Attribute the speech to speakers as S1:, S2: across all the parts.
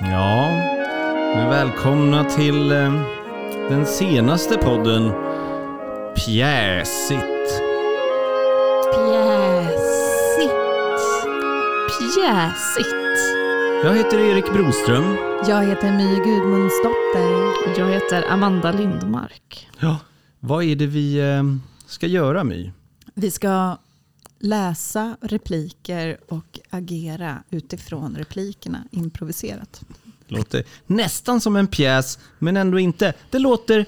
S1: Ja, men välkomna till eh, den senaste podden Pjäsigt.
S2: Pjäsigt. Pjäsigt.
S1: Jag heter Erik Broström.
S3: Jag heter My Gudmundsdotter.
S2: Jag heter Amanda Lindmark.
S1: Ja. Vad är det vi eh, ska göra My?
S3: Vi ska läsa repliker och agera utifrån replikerna improviserat.
S1: Låter nästan som en pjäs, men ändå inte. Det låter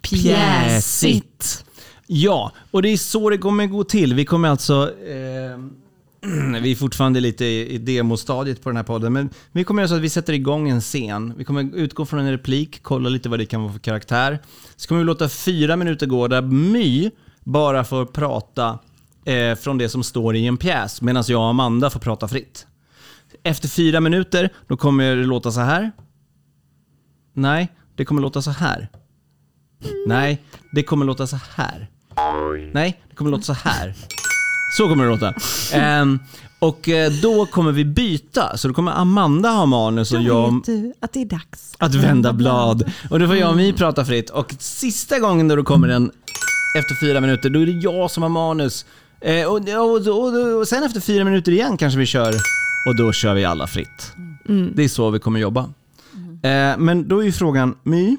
S1: Pjäsigt. Ja, och det är så det kommer gå till. Vi kommer alltså... Eh, vi är fortfarande lite i i demostadiet på den här podden, men vi kommer göra så att vi sätter igång en scen. Vi kommer utgå från en replik, kolla lite vad det kan vara för karaktär. Så kommer vi låta fyra minuter gå där My bara får prata eh, från det som står i en pjäs, medan jag och Amanda får prata fritt. Efter fyra minuter, då kommer det låta så här. Nej, det kommer låta så här. Nej, det kommer låta så här. Nej, det kommer låta så här. Så kommer det låta. Ehm, och eh, då kommer vi byta, så då kommer Amanda ha manus och
S3: Då
S1: jag
S3: vet du att det är dags.
S1: att vända blad. Och då får jag och My prata fritt. Och sista gången då det kommer en efter fyra minuter, då är det jag som har manus. Eh, och, och, och, och, och sen efter fyra minuter igen kanske vi kör. Och då kör vi alla fritt. Det är så vi kommer jobba. Eh, men då är ju frågan, My,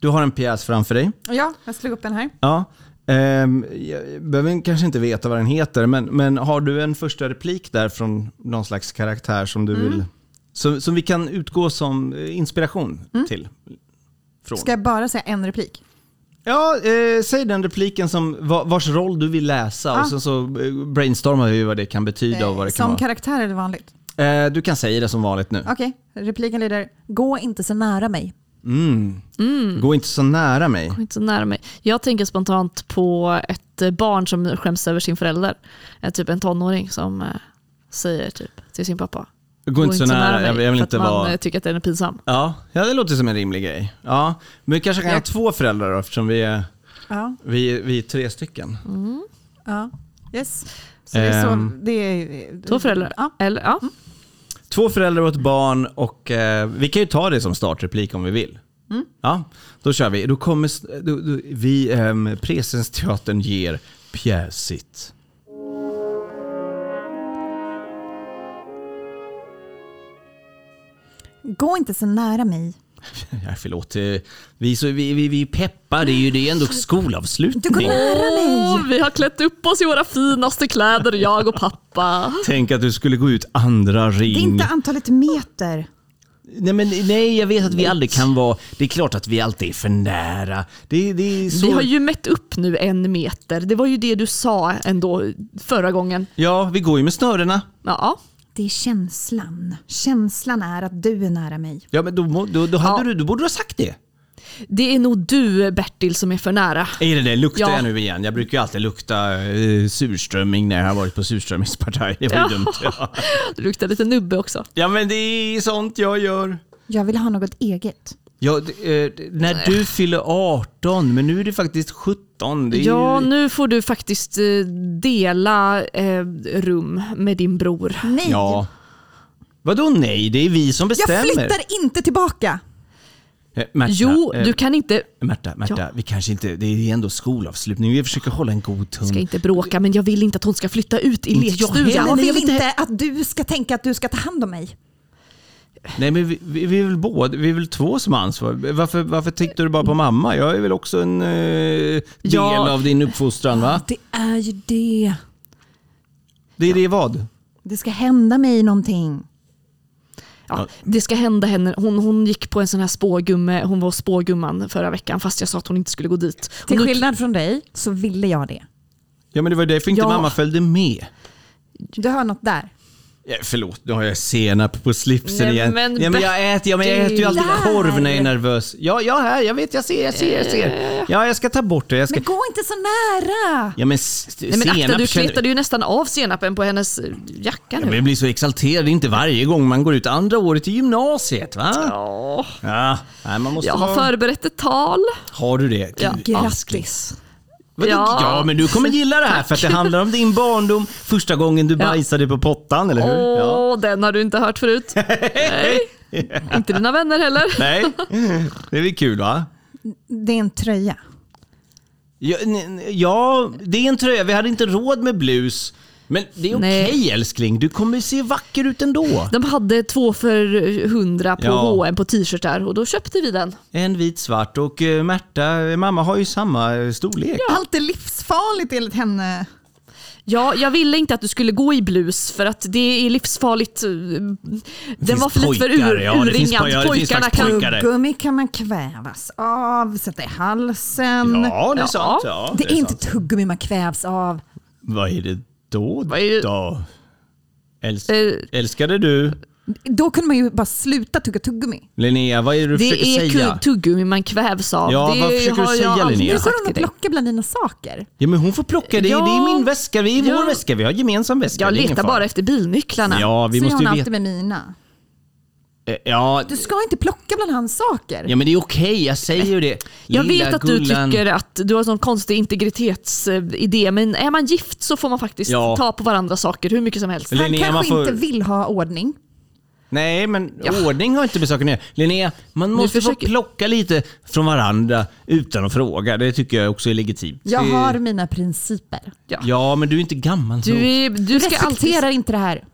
S1: du har en pjäs framför dig.
S3: Ja, jag slog upp den här.
S1: Ja. Ehm, jag behöver kanske inte veta vad den heter, men, men har du en första replik där från någon slags karaktär som du vill... Som, som vi kan utgå som eh, inspiration till? Från.
S3: Ska jag bara säga en replik?
S1: Ja, eh, säg den repliken som, va- vars roll du vill läsa och
S3: Ah. Eh,
S1: sen så eh, brainstormar vi vad det kan betyda och vad det
S3: som
S1: kan
S3: karaktär eller vanligt?
S1: vara. Eh, du kan säga det som vanligt nu.
S3: Okej, repliken lyder Gå inte så nära mig.
S1: Mm. Gå inte så nära mig.
S2: Kom inte så nära mig. Jag tänker spontant på ett eh, barn som skäms över sin förälder. Eh, Typ en tonåring som eh, säger typ till sin pappa.
S1: Gå, inte så nära, jag, jag vill
S2: för
S1: inte
S2: att man
S1: vara...
S2: eh, tycker att den är pinsam.
S1: Ja, ja, det låter som en rimlig grej. Ja, men vi kanske kan ha två föräldrar då, eftersom vi är,
S3: Ja,
S1: vi, vi är tre stycken.
S3: ja. Yes. Så det är så,
S1: Ehm.
S3: det är,
S2: Två föräldrar.
S3: Ja.
S2: Eller, ja.
S1: Två föräldrar och ett barn och eh, vi kan ju ta det som startreplik om vi vill. Ja, då kör vi. Då kommer, s- då, då, vi, ehm, Presensteatern ger pjäsigt.
S3: Gå inte så nära mig.
S1: Ja, förlåt, eh, vi, är så, vi, vi, vi peppar, det är ju det är ändå
S3: Du går
S1: skolavslutning.
S3: nära mig.
S2: Åh, vi har klätt upp oss i våra finaste kläder, jag och pappa.
S1: Tänk att du skulle gå ut andra ring.
S3: Det är inte antalet meter.
S1: Nej, men, nej, jag vet att vi aldrig kan vara... Det är klart att vi alltid är för nära. Det, det är så...
S2: Vi har ju mätt upp nu en meter. Det var ju det du sa ändå förra gången.
S1: Ja, vi går ju med snörena.
S2: Ja,
S3: Det är känslan. Känslan är att du är nära mig.
S1: Ja, men då, må- då, då, hade
S2: Ja.
S1: du, då borde du ha sagt det.
S2: det är nog du Bertil som är för nära.
S1: Är det det? Luktar
S2: Ja.
S1: jag nu igen? Jag brukar ju alltid lukta eh, surströmming när jag har varit på surströmmingspartaj. Det var ju dumt. Ja.
S2: Du luktar lite nubbe också.
S1: ja, men det är sånt jag gör.
S3: Jag vill ha något eget.
S1: Ja, d- eh, d- när du fyller 18, men nu är det faktiskt 17. Det är
S2: Ja,
S1: ju...
S2: nu får du faktiskt eh, dela eh, rum med din bror.
S3: Nej!
S1: Ja. Vadå nej? Det är vi som
S3: jag
S1: bestämmer.
S3: flyttar inte tillbaka!
S1: Eh, Märta,
S2: Jo,
S1: eh,
S2: du kan inte...
S1: Märta, Märta
S2: Ja.
S1: vi kanske inte... Det är ändå skolavslutning. Vi försöker hålla en god ton.
S2: Ska inte bråka, men jag vill inte att hon ska flytta ut i
S1: Inte jag
S2: lekstugan.
S1: heller. men jag
S3: Jag vill
S1: vill inte-
S3: inte att du ska tänka att du ska ta hand om mig.
S1: Nej, men vi, vi, vi är väl båda... Vi är väl två som har ansvar. Varför, varför tänkte du bara på mamma? Jag är väl också en eh, del
S2: Ja.
S1: av din uppfostran, va?
S3: Det är ju det.
S1: Det är det vad?
S3: Det ska hända mig någonting.
S2: Ja, det ska hända henne. Hon, hon gick på en sån här spågumme, hon var hos spågumman förra veckan fast jag sa att hon inte skulle gå dit. Och
S3: Till
S2: nu-
S3: skillnad från dig så ville jag det.
S1: Ja, men det var ju därför inte
S2: Ja.
S1: mamma följde med.
S3: Du hör något där.
S1: Ja, förlåt, nu har jag senap på slipsen
S2: Nej,
S1: igen.
S2: men
S1: ja, men jag, äter, ja, men jag äter ju alltid
S3: Bertil.
S1: korv när jag är nervös. Ja, jag är här, jag vet, jag ser, jag ser, jag ser. Ja, jag ska ta bort det. Jag ska...
S3: Men gå inte så nära!
S1: Ja, men s-
S2: Nej, men akta,
S1: senap
S2: du
S1: känner-
S2: kletade ju nästan av senapen på hennes eh, jacka
S1: Ja, men
S2: nu.
S1: jag blir så exalterad, det är inte varje gång man går ut andra året i gymnasiet va? Ja.
S2: Ja,
S1: Nej, man måste
S2: jag har
S1: vara...
S2: förberett ett tal.
S1: har du det?
S2: Ja.
S1: Gud,
S3: Grattis.
S1: Vadå?
S2: Ja.
S1: Ja, men du kommer gilla det här för att det handlar om din barndom, första gången du
S2: Ja.
S1: bajsade på pottan, eller
S2: Åh,
S1: hur? Ja.
S2: den har du inte hört förut. Nej. Inte dina vänner heller.
S1: Nej, det blir kul va?
S3: Det är en tröja.
S1: Ja, n- n- ja, det är en tröja. Vi hade inte råd med blus. Men det är okej
S2: Nej.
S1: älskling, du kommer se vacker ut ändå.
S2: De hade två för hundra på
S1: Ja.
S2: H&M på t-shirtar och då köpte vi den.
S1: En vit, svart och eh, Märta, eh, mamma har ju samma eh, storlek.
S3: Allt är livsfarligt enligt henne.
S2: Ja, jag ville inte att du skulle gå i blus för att det är livsfarligt. Eh, Den
S1: finns
S2: var för lite för
S1: pojkar,
S2: ur,
S1: ja, det finns
S2: urringad.
S1: poj- ja, det finns
S2: Pojkarna
S1: faktiskt
S2: kan...
S1: Pojkar det.
S3: Gummi kan man kvävas av, sätta i halsen.
S1: Ja, det är
S2: Ja.
S1: sant. Ja,
S3: det, är inte
S1: sant.
S3: tuggummi man kvävs av.
S1: Vad är det då?
S2: Vad är det-
S1: då? Äls-
S2: Eh,
S1: älskade du
S3: Då kunde man ju bara sluta tugga tuggummi.
S1: Linnea? Vad är det du försöker
S2: Det är
S1: säga?
S2: kul tuggummi man kvävs av.
S1: Ja,
S2: det
S1: vad försöker du
S2: har jag
S1: säga,
S2: aldrig
S1: Linnea?
S3: Nu
S2: sagt
S3: går hon och
S2: till dig.
S3: plockar bland dina saker.
S1: Ja, men hon får plocka det.
S2: Ja.
S1: Det är min väska. Vi är
S2: Ja.
S1: vår väska. Vi har gemensam väska.
S2: Jag
S1: Det är ingen
S2: letar
S1: fara.
S2: bara efter bilnycklarna.
S1: Ja, vi
S3: så gör
S1: måste
S3: hon
S1: ju
S3: alltid
S1: veta.
S3: med mina.
S1: Eh, Ja,
S3: Du ska inte plocka bland hans saker.
S1: ja, men det är okej. Jag säger ju det.
S2: Jag
S1: Lilla
S2: vet att du
S1: Gullan.
S2: tycker att du har en sån konstig integritetsidé, men är man gift så får man faktiskt
S1: Ja.
S2: ta på varandras saker hur mycket som helst.
S1: Eller-
S3: Han
S1: Linnea, man
S3: kanske
S1: får-
S3: inte vill ha ordning.
S1: Nej, men
S2: Ja.
S1: ordning har inte med saken att göra. Linnea, man måste
S2: försöker-
S1: få plocka lite från varandra utan att fråga. Det tycker jag också är legitimt.
S3: Jag
S1: Det-
S3: har mina principer.
S1: Ja, men du är inte gammal så.
S2: Du, är, du ska alltid...
S3: Respekterar inte det här.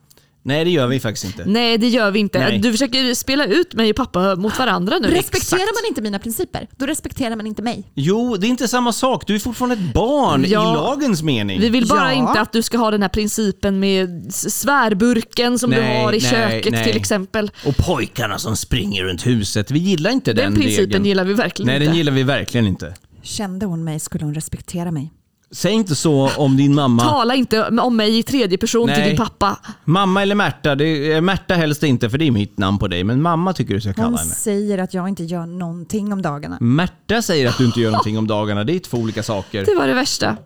S1: Nej, det gör vi faktiskt inte.
S2: Nej, det gör vi inte.
S1: Nej.
S2: Du försöker spela ut mig och pappa mot varandra nu.
S3: Respekterar man inte mina principer, då respekterar man inte mig.
S1: Jo, det är inte samma sak. Du är fortfarande ett barn
S2: Ja.
S1: i lagens mening.
S2: Vi vill bara
S3: Ja.
S2: inte att du ska ha den här principen med s- svärburken som du
S1: Nej,
S2: har i
S1: nej,
S2: köket
S1: nej.
S2: till exempel.
S1: Och pojkarna som springer runt huset. Vi gillar inte den,
S2: Den, principen
S1: regeln.
S2: gillar vi verkligen
S1: Nej,
S2: inte.
S1: den gillar vi verkligen inte.
S3: Kände hon mig skulle hon respektera mig.
S1: Säg inte så om din mamma.
S2: Tala inte om mig i tredje person till
S1: Nej.
S2: din pappa.
S1: Mamma eller Märta. Det är, eh, Märta helst inte, för det är mitt namn på dig. Men mamma tycker du ska kalla
S3: Hon
S1: henne. Mm.
S3: säger att jag inte gör någonting om dagarna.
S1: Märta säger att du inte gör någonting om dagarna. Det är två olika saker.
S2: Det var det värsta.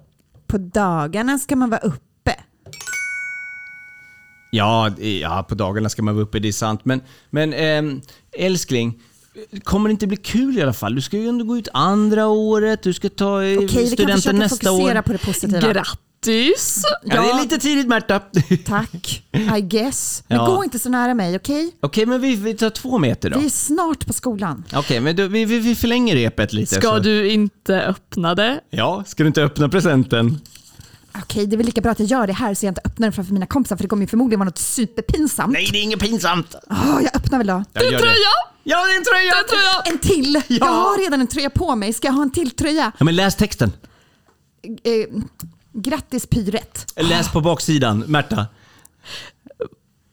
S3: På dagarna ska man vara uppe.
S1: Ja, det- ja på dagarna ska man vara uppe, det är sant. Men, men ehm, älskling, kommer det inte bli kul i alla fall? Du ska ju ändå gå ut andra året, du ska ta eh,
S3: Okej, vi kan
S1: studenten
S3: försöka
S1: nästa
S3: fokusera
S1: år.
S3: på det positiva.
S2: Grattis!
S1: Ja, det är lite tidigt Märta. Okej,
S3: Tack, I guess. Men
S1: Ja.
S3: gå inte så nära mig, okej?
S1: men vi, vi tar två meter då.
S3: Vi är snart på skolan.
S1: Okej, men då, vi, vi, vi förlänger repet lite.
S2: Ska
S1: så-
S2: du inte öppna det?
S1: Ja, ska du inte öppna presenten?
S3: Okej, det är väl lika bra att jag gör det här så jag inte öppnar den framför mina kompisar för det kommer ju förmodligen vara något superpinsamt.
S1: Nej, det är inget pinsamt.
S3: Åh, jag öppnar väl då.
S1: Jag
S2: Du
S1: gör
S2: tröja!
S1: det. Ja, det är en tröja!
S2: Den tröja!
S3: En till! Jag har redan en tröja på mig. Ska jag ha en till tröja?
S1: Ja, men läs texten.
S3: Eh, grattis pyret.
S1: Läs på baksidan, Märta.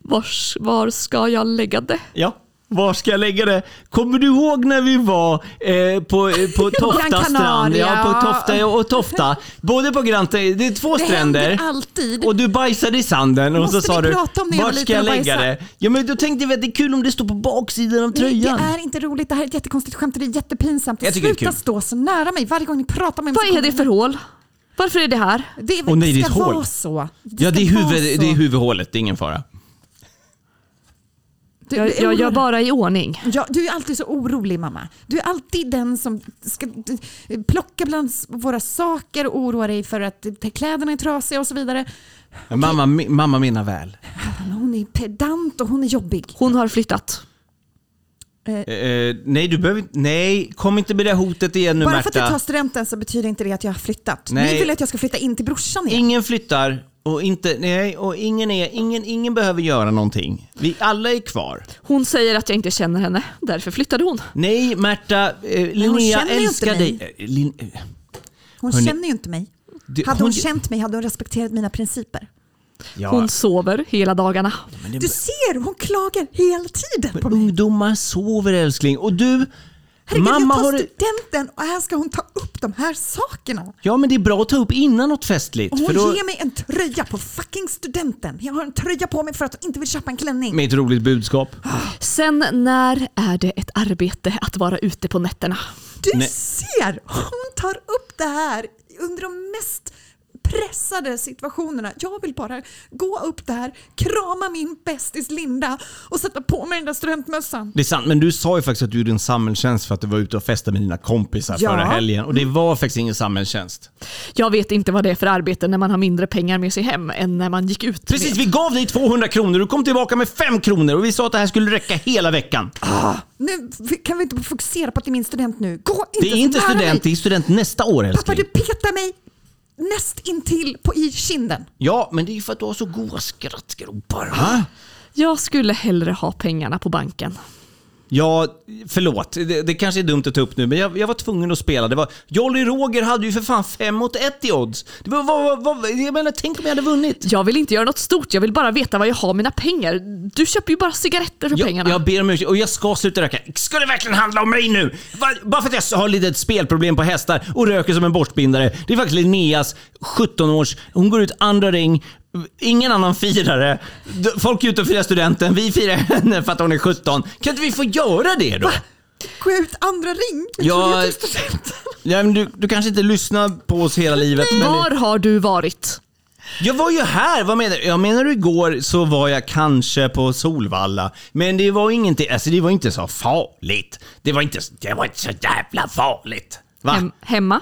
S2: Vars, var ska jag lägga det?
S1: Ja. Var ska jag lägga det? Kommer du ihåg när vi var eh, på, eh, på Tofta
S3: Gran
S1: strand?
S3: Canaria.
S1: Ja, på Tofta och Tofta. Både på Gran det är två
S3: Det
S1: stränder.
S3: händer alltid.
S1: Och du bajsade i sanden och
S3: Måste
S1: så sa
S3: vi
S1: du,
S3: prata om när jag
S1: vart
S3: var
S1: ska jag
S3: liten och
S1: lägga det?
S3: bajsa?
S1: Ja men då tänkte vi att det är kul om det står på baksidan av
S3: Nej, det
S1: tröjan.
S3: är inte roligt. Det här är ett jättekonstigt skämt och det är jättepinsamt.
S1: Jag tycker det är
S3: Sluta
S1: kul.
S3: stå så nära mig varje gång ni pratar med mig.
S2: Vad är det för hål? Varför är det här?
S3: Det är,
S1: Åh, nej, det är ett
S3: ska
S1: hål.
S3: vara så.
S1: Ja det är,
S3: ska vara
S1: huvud,
S3: så.
S1: det är huvudhålet, det är ingen fara.
S3: Du,
S2: Jag, jag gör
S3: oroar-
S2: bara i ordning.
S3: Ja, du är alltid så orolig mamma. Du är alltid den som ska eh, plocka bland s- våra saker och oroa dig för att eh, kläderna är trasiga och så vidare.
S1: Men Mamma, mi- mamma menar väl.
S3: Men Hon är pedant och hon är jobbig.
S2: Hon har flyttat.
S1: Eh, eh, nej du behöver inte, nej kom inte med det hotet igen nu
S3: Bara för
S1: Märta.
S3: att jag tar studenten så betyder inte det att jag har flyttat.
S1: Nej.
S3: Ni vill att jag ska flytta in till brorsan igen.
S1: Ingen flyttar och, inte, nej, och ingen, är, ingen, ingen behöver göra någonting. Vi alla är kvar.
S2: Hon säger att jag inte känner henne. Därför flyttade hon.
S1: Nej, Märta, eh, Linnea
S3: känner ju
S1: älskar
S3: inte mig.
S1: dig. Eh, Lin, eh,
S3: Hon
S1: Hörni,
S3: känner ju inte mig.
S1: det-
S3: Hade
S1: hon-
S3: hon känt mig hade hon respekterat mina principer.
S1: ja,
S2: Hon sover hela dagarna.
S1: men det,
S3: Du ser, hon klagar hela tiden på mig.
S1: ungdomar sover älskling. Och du,
S3: Herregud,
S1: mamma
S3: jag tar
S1: har...
S3: studenten och här ska hon ta upp de här sakerna.
S1: Ja, men det är bra att ta upp innan något festligt.
S3: Och hon
S1: för då,
S3: ger mig en tröja på fucking studenten. Jag har en tröja på mig för att hon inte vill köpa en klänning.
S1: med ett roligt budskap.
S2: Sen när är det ett arbete att vara ute på nätterna?
S3: Du
S1: Nej.
S3: ser, hon tar upp det här under de mest pressade situationerna. Jag vill bara gå upp där, krama min bästis Linda och sätta på mig den där studentmössan.
S1: Det är sant, men du sa ju faktiskt att du gjorde en samhällstjänst för att du var ute och festade med dina kompisar
S3: Ja.
S1: förra helgen. Och det var faktiskt ingen samhällstjänst.
S2: Jag vet inte vad det är för arbete när man har mindre pengar med sig hem än när man gick ut
S1: Precis,
S2: med.
S1: vi gav dig 200 kronor, du kom tillbaka med 5 kronor och vi sa att det här skulle räcka hela veckan.
S3: Nu kan vi inte fokusera på att det är min student nu. Gå inte
S1: Det är inte
S3: så nära
S1: student, det
S3: mig.
S1: är student nästa år
S3: Pappa, du
S1: älskling.
S3: petar mig näst intill på i kinden.
S1: Ja, men det är ju för att du har så goda skrattgropar. Va?
S2: Jag skulle hellre ha pengarna på banken.
S1: Ja, förlåt. Det, det kanske är dumt att ta upp nu, men jag, jag var tvungen att spela. Det var, Jolly Roger hade ju för fan 5 mot 1 i odds. Det var, vad, vad, vad, jag menar, tänk om jag hade vunnit.
S2: Jag vill inte göra något stort, jag vill bara veta var jag har mina pengar. Du köper ju bara cigaretter för
S1: Jag,
S2: pengarna.
S1: jag ber om ursäkt och jag ska sluta röka. Ska det verkligen handla om mig nu? Va- Bara för att jag har lite ett spelproblem på hästar och röker som en borstbindare. Det är faktiskt Linneas 17 års. Hon går ut andra ring. Ingen annan firare. D- Folk är ute och firar studenten. Vi firar henne för att hon är 17. Kan inte vi få göra det då?
S3: Gå ut andra ring. Jag
S1: Ja.
S3: trodde jag tog studenten.
S1: Ja, men du, du kanske inte lyssnar på oss hela livet. Men
S2: Var har du varit?
S1: jag var ju här. Vad menar du? Jag menar du igår så var jag kanske på Solvalla. Men det var ingenting. Alltså det var inte så farligt. Det var inte, så- det var inte så jävla farligt. Va?
S2: Hem, hemma?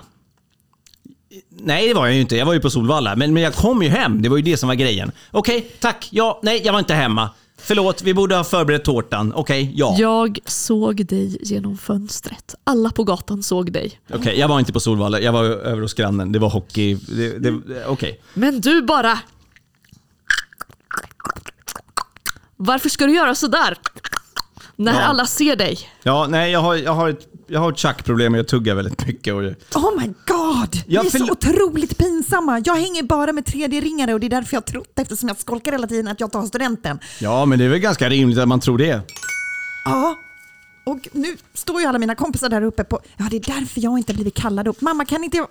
S1: Nej, det var jag ju inte. Jag var ju på Solvalla. Men, men jag kom ju hem. Det var ju det som var grejen. Okej, tack. Ja, nej, jag var inte hemma. Förlåt, vi borde ha förberett tårtan. Okej, ja.
S2: Jag såg dig genom fönstret. Alla på gatan såg dig.
S1: Okej, jag var inte på Solvalla. Jag var över hos grannen. Det var hockey. Det, det, Okej.
S2: Men du bara... Varför ska du göra sådär? När
S1: Ja.
S2: alla ser dig.
S1: Ja, nej, jag har, jag har ett, jag har ett tjackproblem och jag tuggar väldigt mycket. Och,
S3: Oh my god!
S1: Ja,
S3: Ni är
S1: förlåt.
S3: så otroligt pinsamma. Jag hänger bara med 3D-ringare och det är därför jag har trott eftersom jag skolkar hela tiden att jag tar studenten.
S1: ja, men det är väl ganska rimligt att man tror det.
S3: Ja. Och nu står ju alla mina kompisar där uppe på... Ja, det är därför jag inte har blivit kallad upp. Mamma, kan inte jag,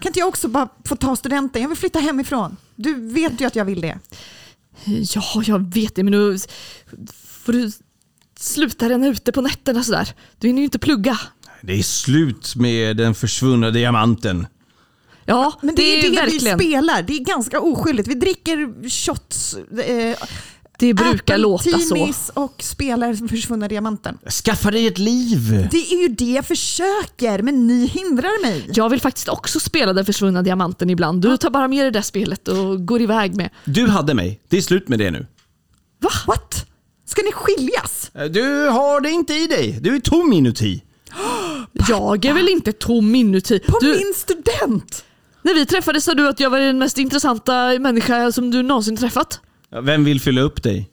S3: kan inte jag också bara få ta studenten? Jag vill flytta hemifrån. Du vet ju att jag vill det.
S2: Ja, jag vet det, men nu får du sluta ränna ute på nätterna sådär. Du hinner ju inte plugga.
S1: Det är slut med den försvunna diamanten.
S2: Ja,
S3: Men det, är det
S2: verkligen.
S3: vi spelar. Det är ganska oskyldigt. Vi dricker shots, eh,
S2: det brukar låta så.
S3: apeltinis och spelar den försvunna diamanten.
S1: Skaffa dig ett liv!
S3: Det är ju det jag försöker, men ni hindrar mig.
S2: Jag vill faktiskt också spela den försvunna diamanten ibland. Du tar bara med det där spelet och går iväg med.
S1: Du hade mig. Det är slut med det nu.
S3: Va? What? Ska ni skiljas?
S1: Eh, Du har det inte i dig. Du är tom inuti.
S2: Jag är väl inte tom inuti.
S3: På
S2: Du,
S3: min student?
S2: när vi träffades sa du att jag var den mest intressanta människa som du någonsin träffat.
S1: Ja, Vem vill fylla upp dig?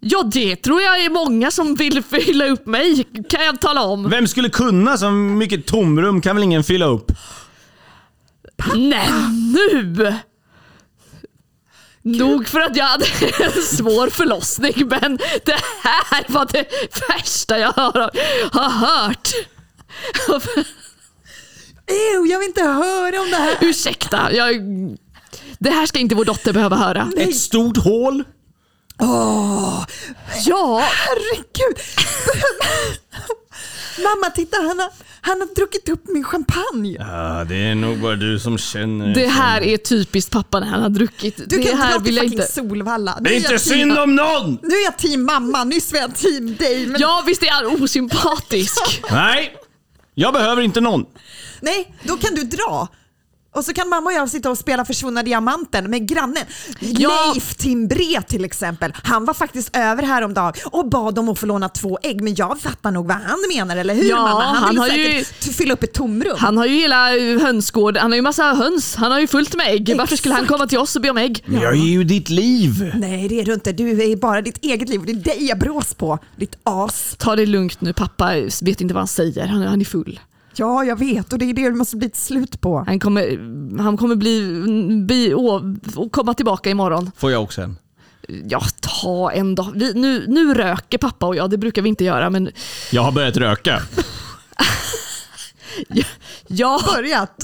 S2: Ja, det tror jag är många som vill fylla upp mig, kan jag tala om.
S1: Vem skulle kunna? Så mycket tomrum kan väl ingen fylla upp?
S2: Nej, nu! Nog för att jag hade en svår förlossning, men det här var det värsta jag har, har hört.
S3: Ew, jag vill inte höra om det här.
S2: Ursäkta, jag, det här ska inte vår dotter behöva höra.
S1: Ett stort hål?
S2: Ja,
S3: Herregud. Mamma, titta han har, han har druckit upp min champagne.
S1: Ja, det är nog bara du som känner.
S2: det här är typiskt pappa när han har druckit.
S3: Du
S2: det
S3: kan
S2: här
S3: inte dra till
S2: vill jag
S3: fucking
S2: inte.
S3: Solvalla. Nu
S1: Det är
S3: jag
S1: inte
S3: team-
S1: synd om någon!
S3: Nu är jag team mamma, nyss var jag team dig. Men
S2: Ja, visst är han osympatisk?
S1: Nej! Jag behöver inte någon.
S3: Nej, då kan du dra. Och så kan mamma och jag sitta och spela försvunna diamanten med grannen.
S2: Ja.
S3: Leif Timbré till exempel. Han var faktiskt över häromdagen och bad om att få låna två ägg. Men jag fattar nog vad han menar, eller hur
S2: Ja,
S3: mamma? Han,
S2: han
S3: vill
S2: har ju-
S3: säkert fylla upp ett tomrum.
S2: Han har ju hela hönsgård, han har ju massa höns, han har ju fullt med ägg. Varför skulle han komma till oss och be om ägg?
S1: Men jag är ju ditt liv.
S3: Nej, det är du inte. Du är bara ditt eget liv. Det är dig jag brås på. Ditt as.
S2: Ta det lugnt nu, pappa vet inte vad han säger, han, han är full.
S3: Ja, jag vet. Och det är det det måste bli ett slut på.
S2: Han kommer, han kommer bli, bli å, å, komma tillbaka imorgon.
S1: Får jag också en?
S2: Ja, ta en dag. Vi, nu, nu röker pappa och jag, det brukar vi inte göra, men
S1: Jag har börjat röka.
S2: jag, jag,
S3: Börjat.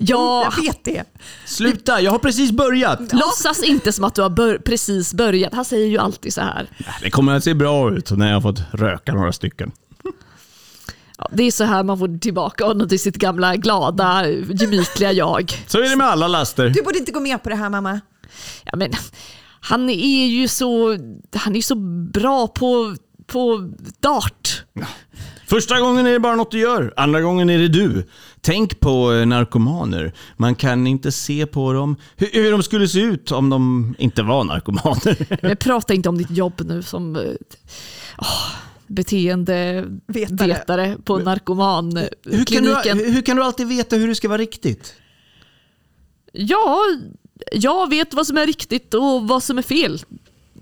S2: jag
S3: Jag vet det.
S1: Sluta, jag har precis börjat.
S2: låtsas inte som att du har bör, precis börjat. Han säger ju alltid så här.
S1: Det kommer att se bra ut när jag har fått röka några stycken.
S2: Ja, det är så här man får tillbaka honom till sitt gamla glada, gemytliga jag.
S1: Så är det med alla laster.
S3: Du borde inte gå med på det här mamma.
S2: Ja, men, han är ju så, han är så bra på, på dart.
S1: Första gången är det bara något du gör, andra gången är det du. Tänk på eh, narkomaner. Man kan inte se på dem hur, hur de skulle se ut om de inte var narkomaner.
S2: Men prata inte om ditt jobb nu som eh, oh, beteendevetare
S3: Vetare.
S2: vetare på
S1: Hur kan, du,
S2: narkomankliniken.
S1: hur, hur kan du alltid veta hur det ska vara riktigt?
S2: Ja, jag vet vad som är riktigt och vad som är fel.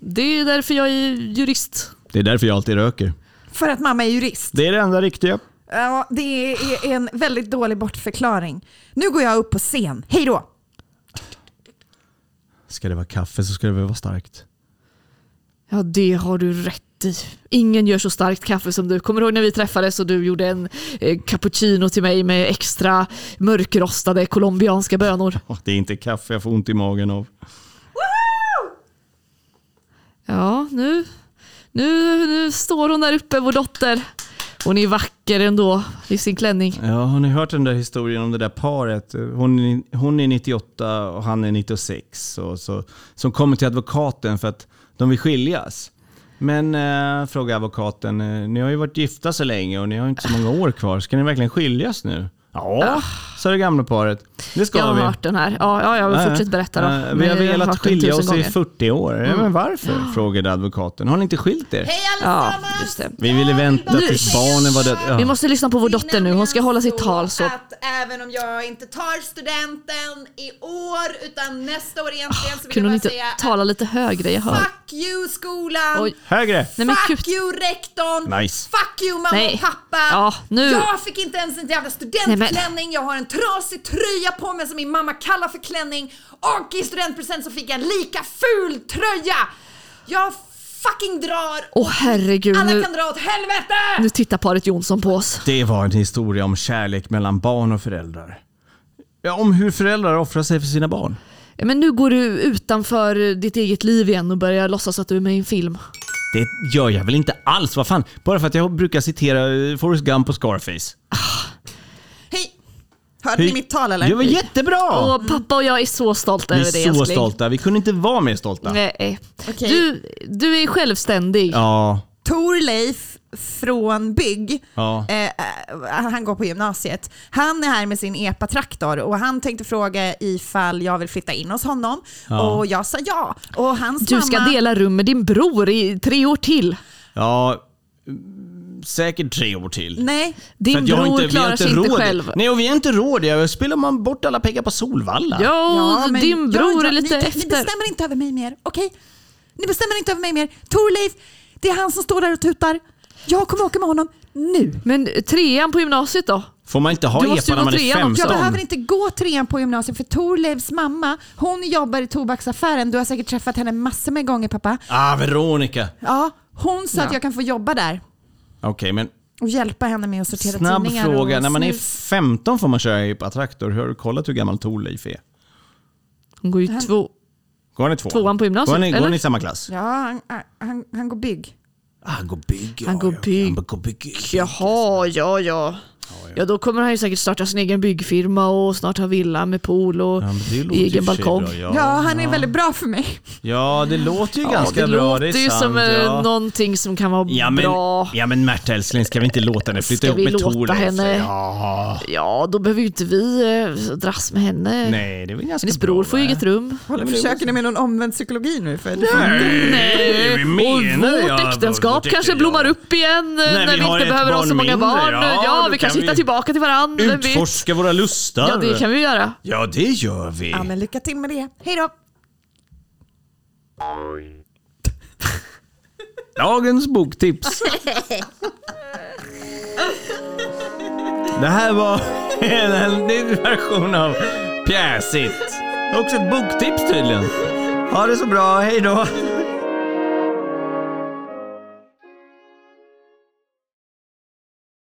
S2: Det är därför jag är jurist.
S1: Det är därför jag alltid röker.
S3: För att mamma är jurist.
S1: Det är det enda riktiga.
S3: Ja, det är en väldigt dålig bortförklaring. Nu går jag upp på scen. Hej då!
S1: Ska det vara kaffe så ska det väl vara starkt.
S2: Ja, det har du rätt i. Ingen gör så starkt kaffe som du. Kommer du ihåg när vi träffades och du gjorde en eh, cappuccino till mig med extra mörkrostade colombianska bönor?
S1: Åh, det är inte kaffe jag får ont i magen av.
S2: Ja, nu, nu, nu står hon där uppe, vår dotter. Hon är vacker ändå i sin klänning.
S1: Ja, har ni hört den där historien om det där paret? Hon, är- hon är 98 och han är 96. Och så, som kommer till advokaten för att de vill skiljas. Men, eh, frågar advokaten, eh, ni har ju varit gifta så länge och ni har ju inte så många år kvar. Ska ni verkligen skiljas nu? Ja, sa det gamla paret. Det ska
S2: Jag har
S1: vi.
S2: hört den här. Ah. Ja, ja, ja
S1: Nej.
S2: fortsätt berätta då.
S1: Eh, Vi
S2: Men
S1: har
S2: jag
S1: velat
S2: hört den
S1: skilja
S2: tusen
S1: oss i
S2: gånger. Mm. Ah.
S1: 40 år. Ja, men varför? Frågade advokaten. Har ni inte skilt er?
S2: Ja, just det.
S1: Vi ville vänta
S2: Nu-
S1: tills barnen var döda.
S2: Vi
S1: Ja.
S2: måste lyssna på vår dotter nu. Hon ska hålla sitt tal så.
S4: Att även om jag inte tar studenten i år utan nästa år egentligen så vill
S2: Ah, Kunde
S4: jag
S2: hon
S4: bara
S2: inte
S4: säga
S2: tala lite högre? Jag hör.
S4: Fuck you skolan!
S2: Oj.
S1: Högre!
S2: Nej men
S4: Fuck
S2: gud.
S4: you rektorn!
S1: Nice.
S4: Fuck you mamma
S2: Nej.
S4: och pappa!
S2: Ja, nu.
S4: Jag fick inte ens en jävla
S2: Nej,
S4: studentklänning, jag har en trasig tröja på mig som min mamma kallar för klänning och i studentpresent så fick jag en lika ful tröja! Jag fucking drar!
S2: Åh herregud,
S4: Alla
S2: nu,
S4: kan dra åt helvete!
S2: nu tittar paret Jonsson på oss.
S1: Det var en historia om kärlek mellan barn och föräldrar. Ja, om hur föräldrar offrar sig för sina barn.
S2: Ja, Men nu går du utanför ditt eget liv igen och börjar låtsas att du är med i en film.
S1: Det gör jag väl inte alls, vad fan? Bara för att jag brukar citera eh, Forrest Gump och Scarface.
S3: Hej! Hörde ni mitt tal eller?
S1: Det var jättebra!
S2: Och pappa och jag är så stolta
S1: Vi
S2: över det
S1: är så
S2: älskling.
S1: stolta, vi kunde inte vara mer stolta.
S2: Nej. eh. Du, du är självständig.
S1: Ja,
S3: Torleif från Bygg,
S1: Ja.
S3: eh, eh, han går på gymnasiet. Han är här med sin epatraktor och han tänkte fråga ifall jag vill flytta in hos honom. Och jag sa ja. Och hans
S2: Du ska
S3: mamma...
S2: dela rum med din bror i tre år till.
S1: ja, mm, säkert tre år till.
S3: Nej,
S1: För
S2: Din
S1: att jag har
S2: bror
S1: vi har
S2: klarar sig inte
S1: råd.
S2: själv.
S1: Nej, och vi är inte rådiga. Spelar man bort alla pengar på Solvalla?
S2: Ja,
S3: Ja,
S2: och
S3: men-
S2: din
S3: ja,
S2: bror
S3: ja,
S2: är lite
S3: ni, Ni
S2: efter.
S3: bestämmer inte över mig mer, okej? Ni bestämmer inte över mig mer. Torleif, det är han som står där och tutar. Jag kommer åka med honom nu.
S2: Men trean på gymnasiet då?
S1: Får man inte ha
S2: Du måste
S1: epa när
S2: ju gå
S1: man är
S2: trean också.
S1: 15?
S3: Jag behöver inte gå trean på gymnasiet för Torleifs mamma, hon jobbar i tobaksaffären. Du har säkert träffat henne massor med gånger pappa.
S1: Ah, Veronica.
S3: Ja, hon sa att jag kan få jobba där
S1: Okej, men
S3: och hjälpa henne med att sortera
S1: Snabb
S3: tidningar
S1: fråga.
S3: och
S1: När man är
S3: snus.
S1: 15 får man köra epatraktor. Har du kollat hur gammal Torleif är?
S2: Hon går ju två...
S1: Går han i tvåan?
S2: Tvåan på gymnasiet,
S1: Går han i, går
S2: eller?
S1: han i samma klass?
S3: Ja, han, han, han går bygg.
S1: Ah, han går bygg.
S2: Han går bygg.
S1: Han går bygg.
S2: Jaha, ja, ja. Ja, då kommer han ju säkert starta sin egen byggfirma och snart ha villa med pool och
S1: Ja, men det låter ju
S2: egen
S1: för sig
S2: balkong.
S1: bra,
S3: Ja, han är väldigt bra för mig.
S1: ja, det låter ju
S2: Ja,
S1: ganska
S2: det
S1: bra.
S2: låter
S1: Det är
S2: ju
S1: sant.
S2: som eh,
S1: ja.
S2: någonting som kan vara
S1: Ja men,
S2: bra.
S1: ja men Märta älskling, ska vi inte låta henne flytta
S2: Ska
S1: ihop
S2: vi
S1: med
S2: låta
S1: Torleif?
S2: henne?
S1: Ja.
S2: Ja, då behöver ju inte vi eh, dras med henne.
S1: Nej, det är väl ganska
S2: Hennes
S1: bra.
S2: bror får ju
S1: va?
S2: eget rum.
S3: Håller, försöker ni med någon omvänd psykologi nu? För
S1: Nej, vi
S2: Och
S1: menar
S2: vårt
S1: jag,
S2: äktenskap
S1: vårt äktenskap.
S2: kanske blommar upp igen eh,
S1: vi
S2: när vi
S1: har
S2: inte
S1: ett
S2: behöver ha
S1: barn
S2: så många
S1: mindre.
S2: barn.
S1: Ja,
S2: Ja,
S1: då kan
S2: vi kanske
S1: vi
S2: hittar tillbaka till varandra. vem vet?
S1: Utforska våra lustar.
S2: Ja, det kan vi göra.
S1: ja, det gör vi.
S3: Ja, men lycka till med det. Hej då!
S1: Dagens boktips. Det här var en ny version av Pjäsigt. Också ett boktips tydligen. Ha det så bra, hej då.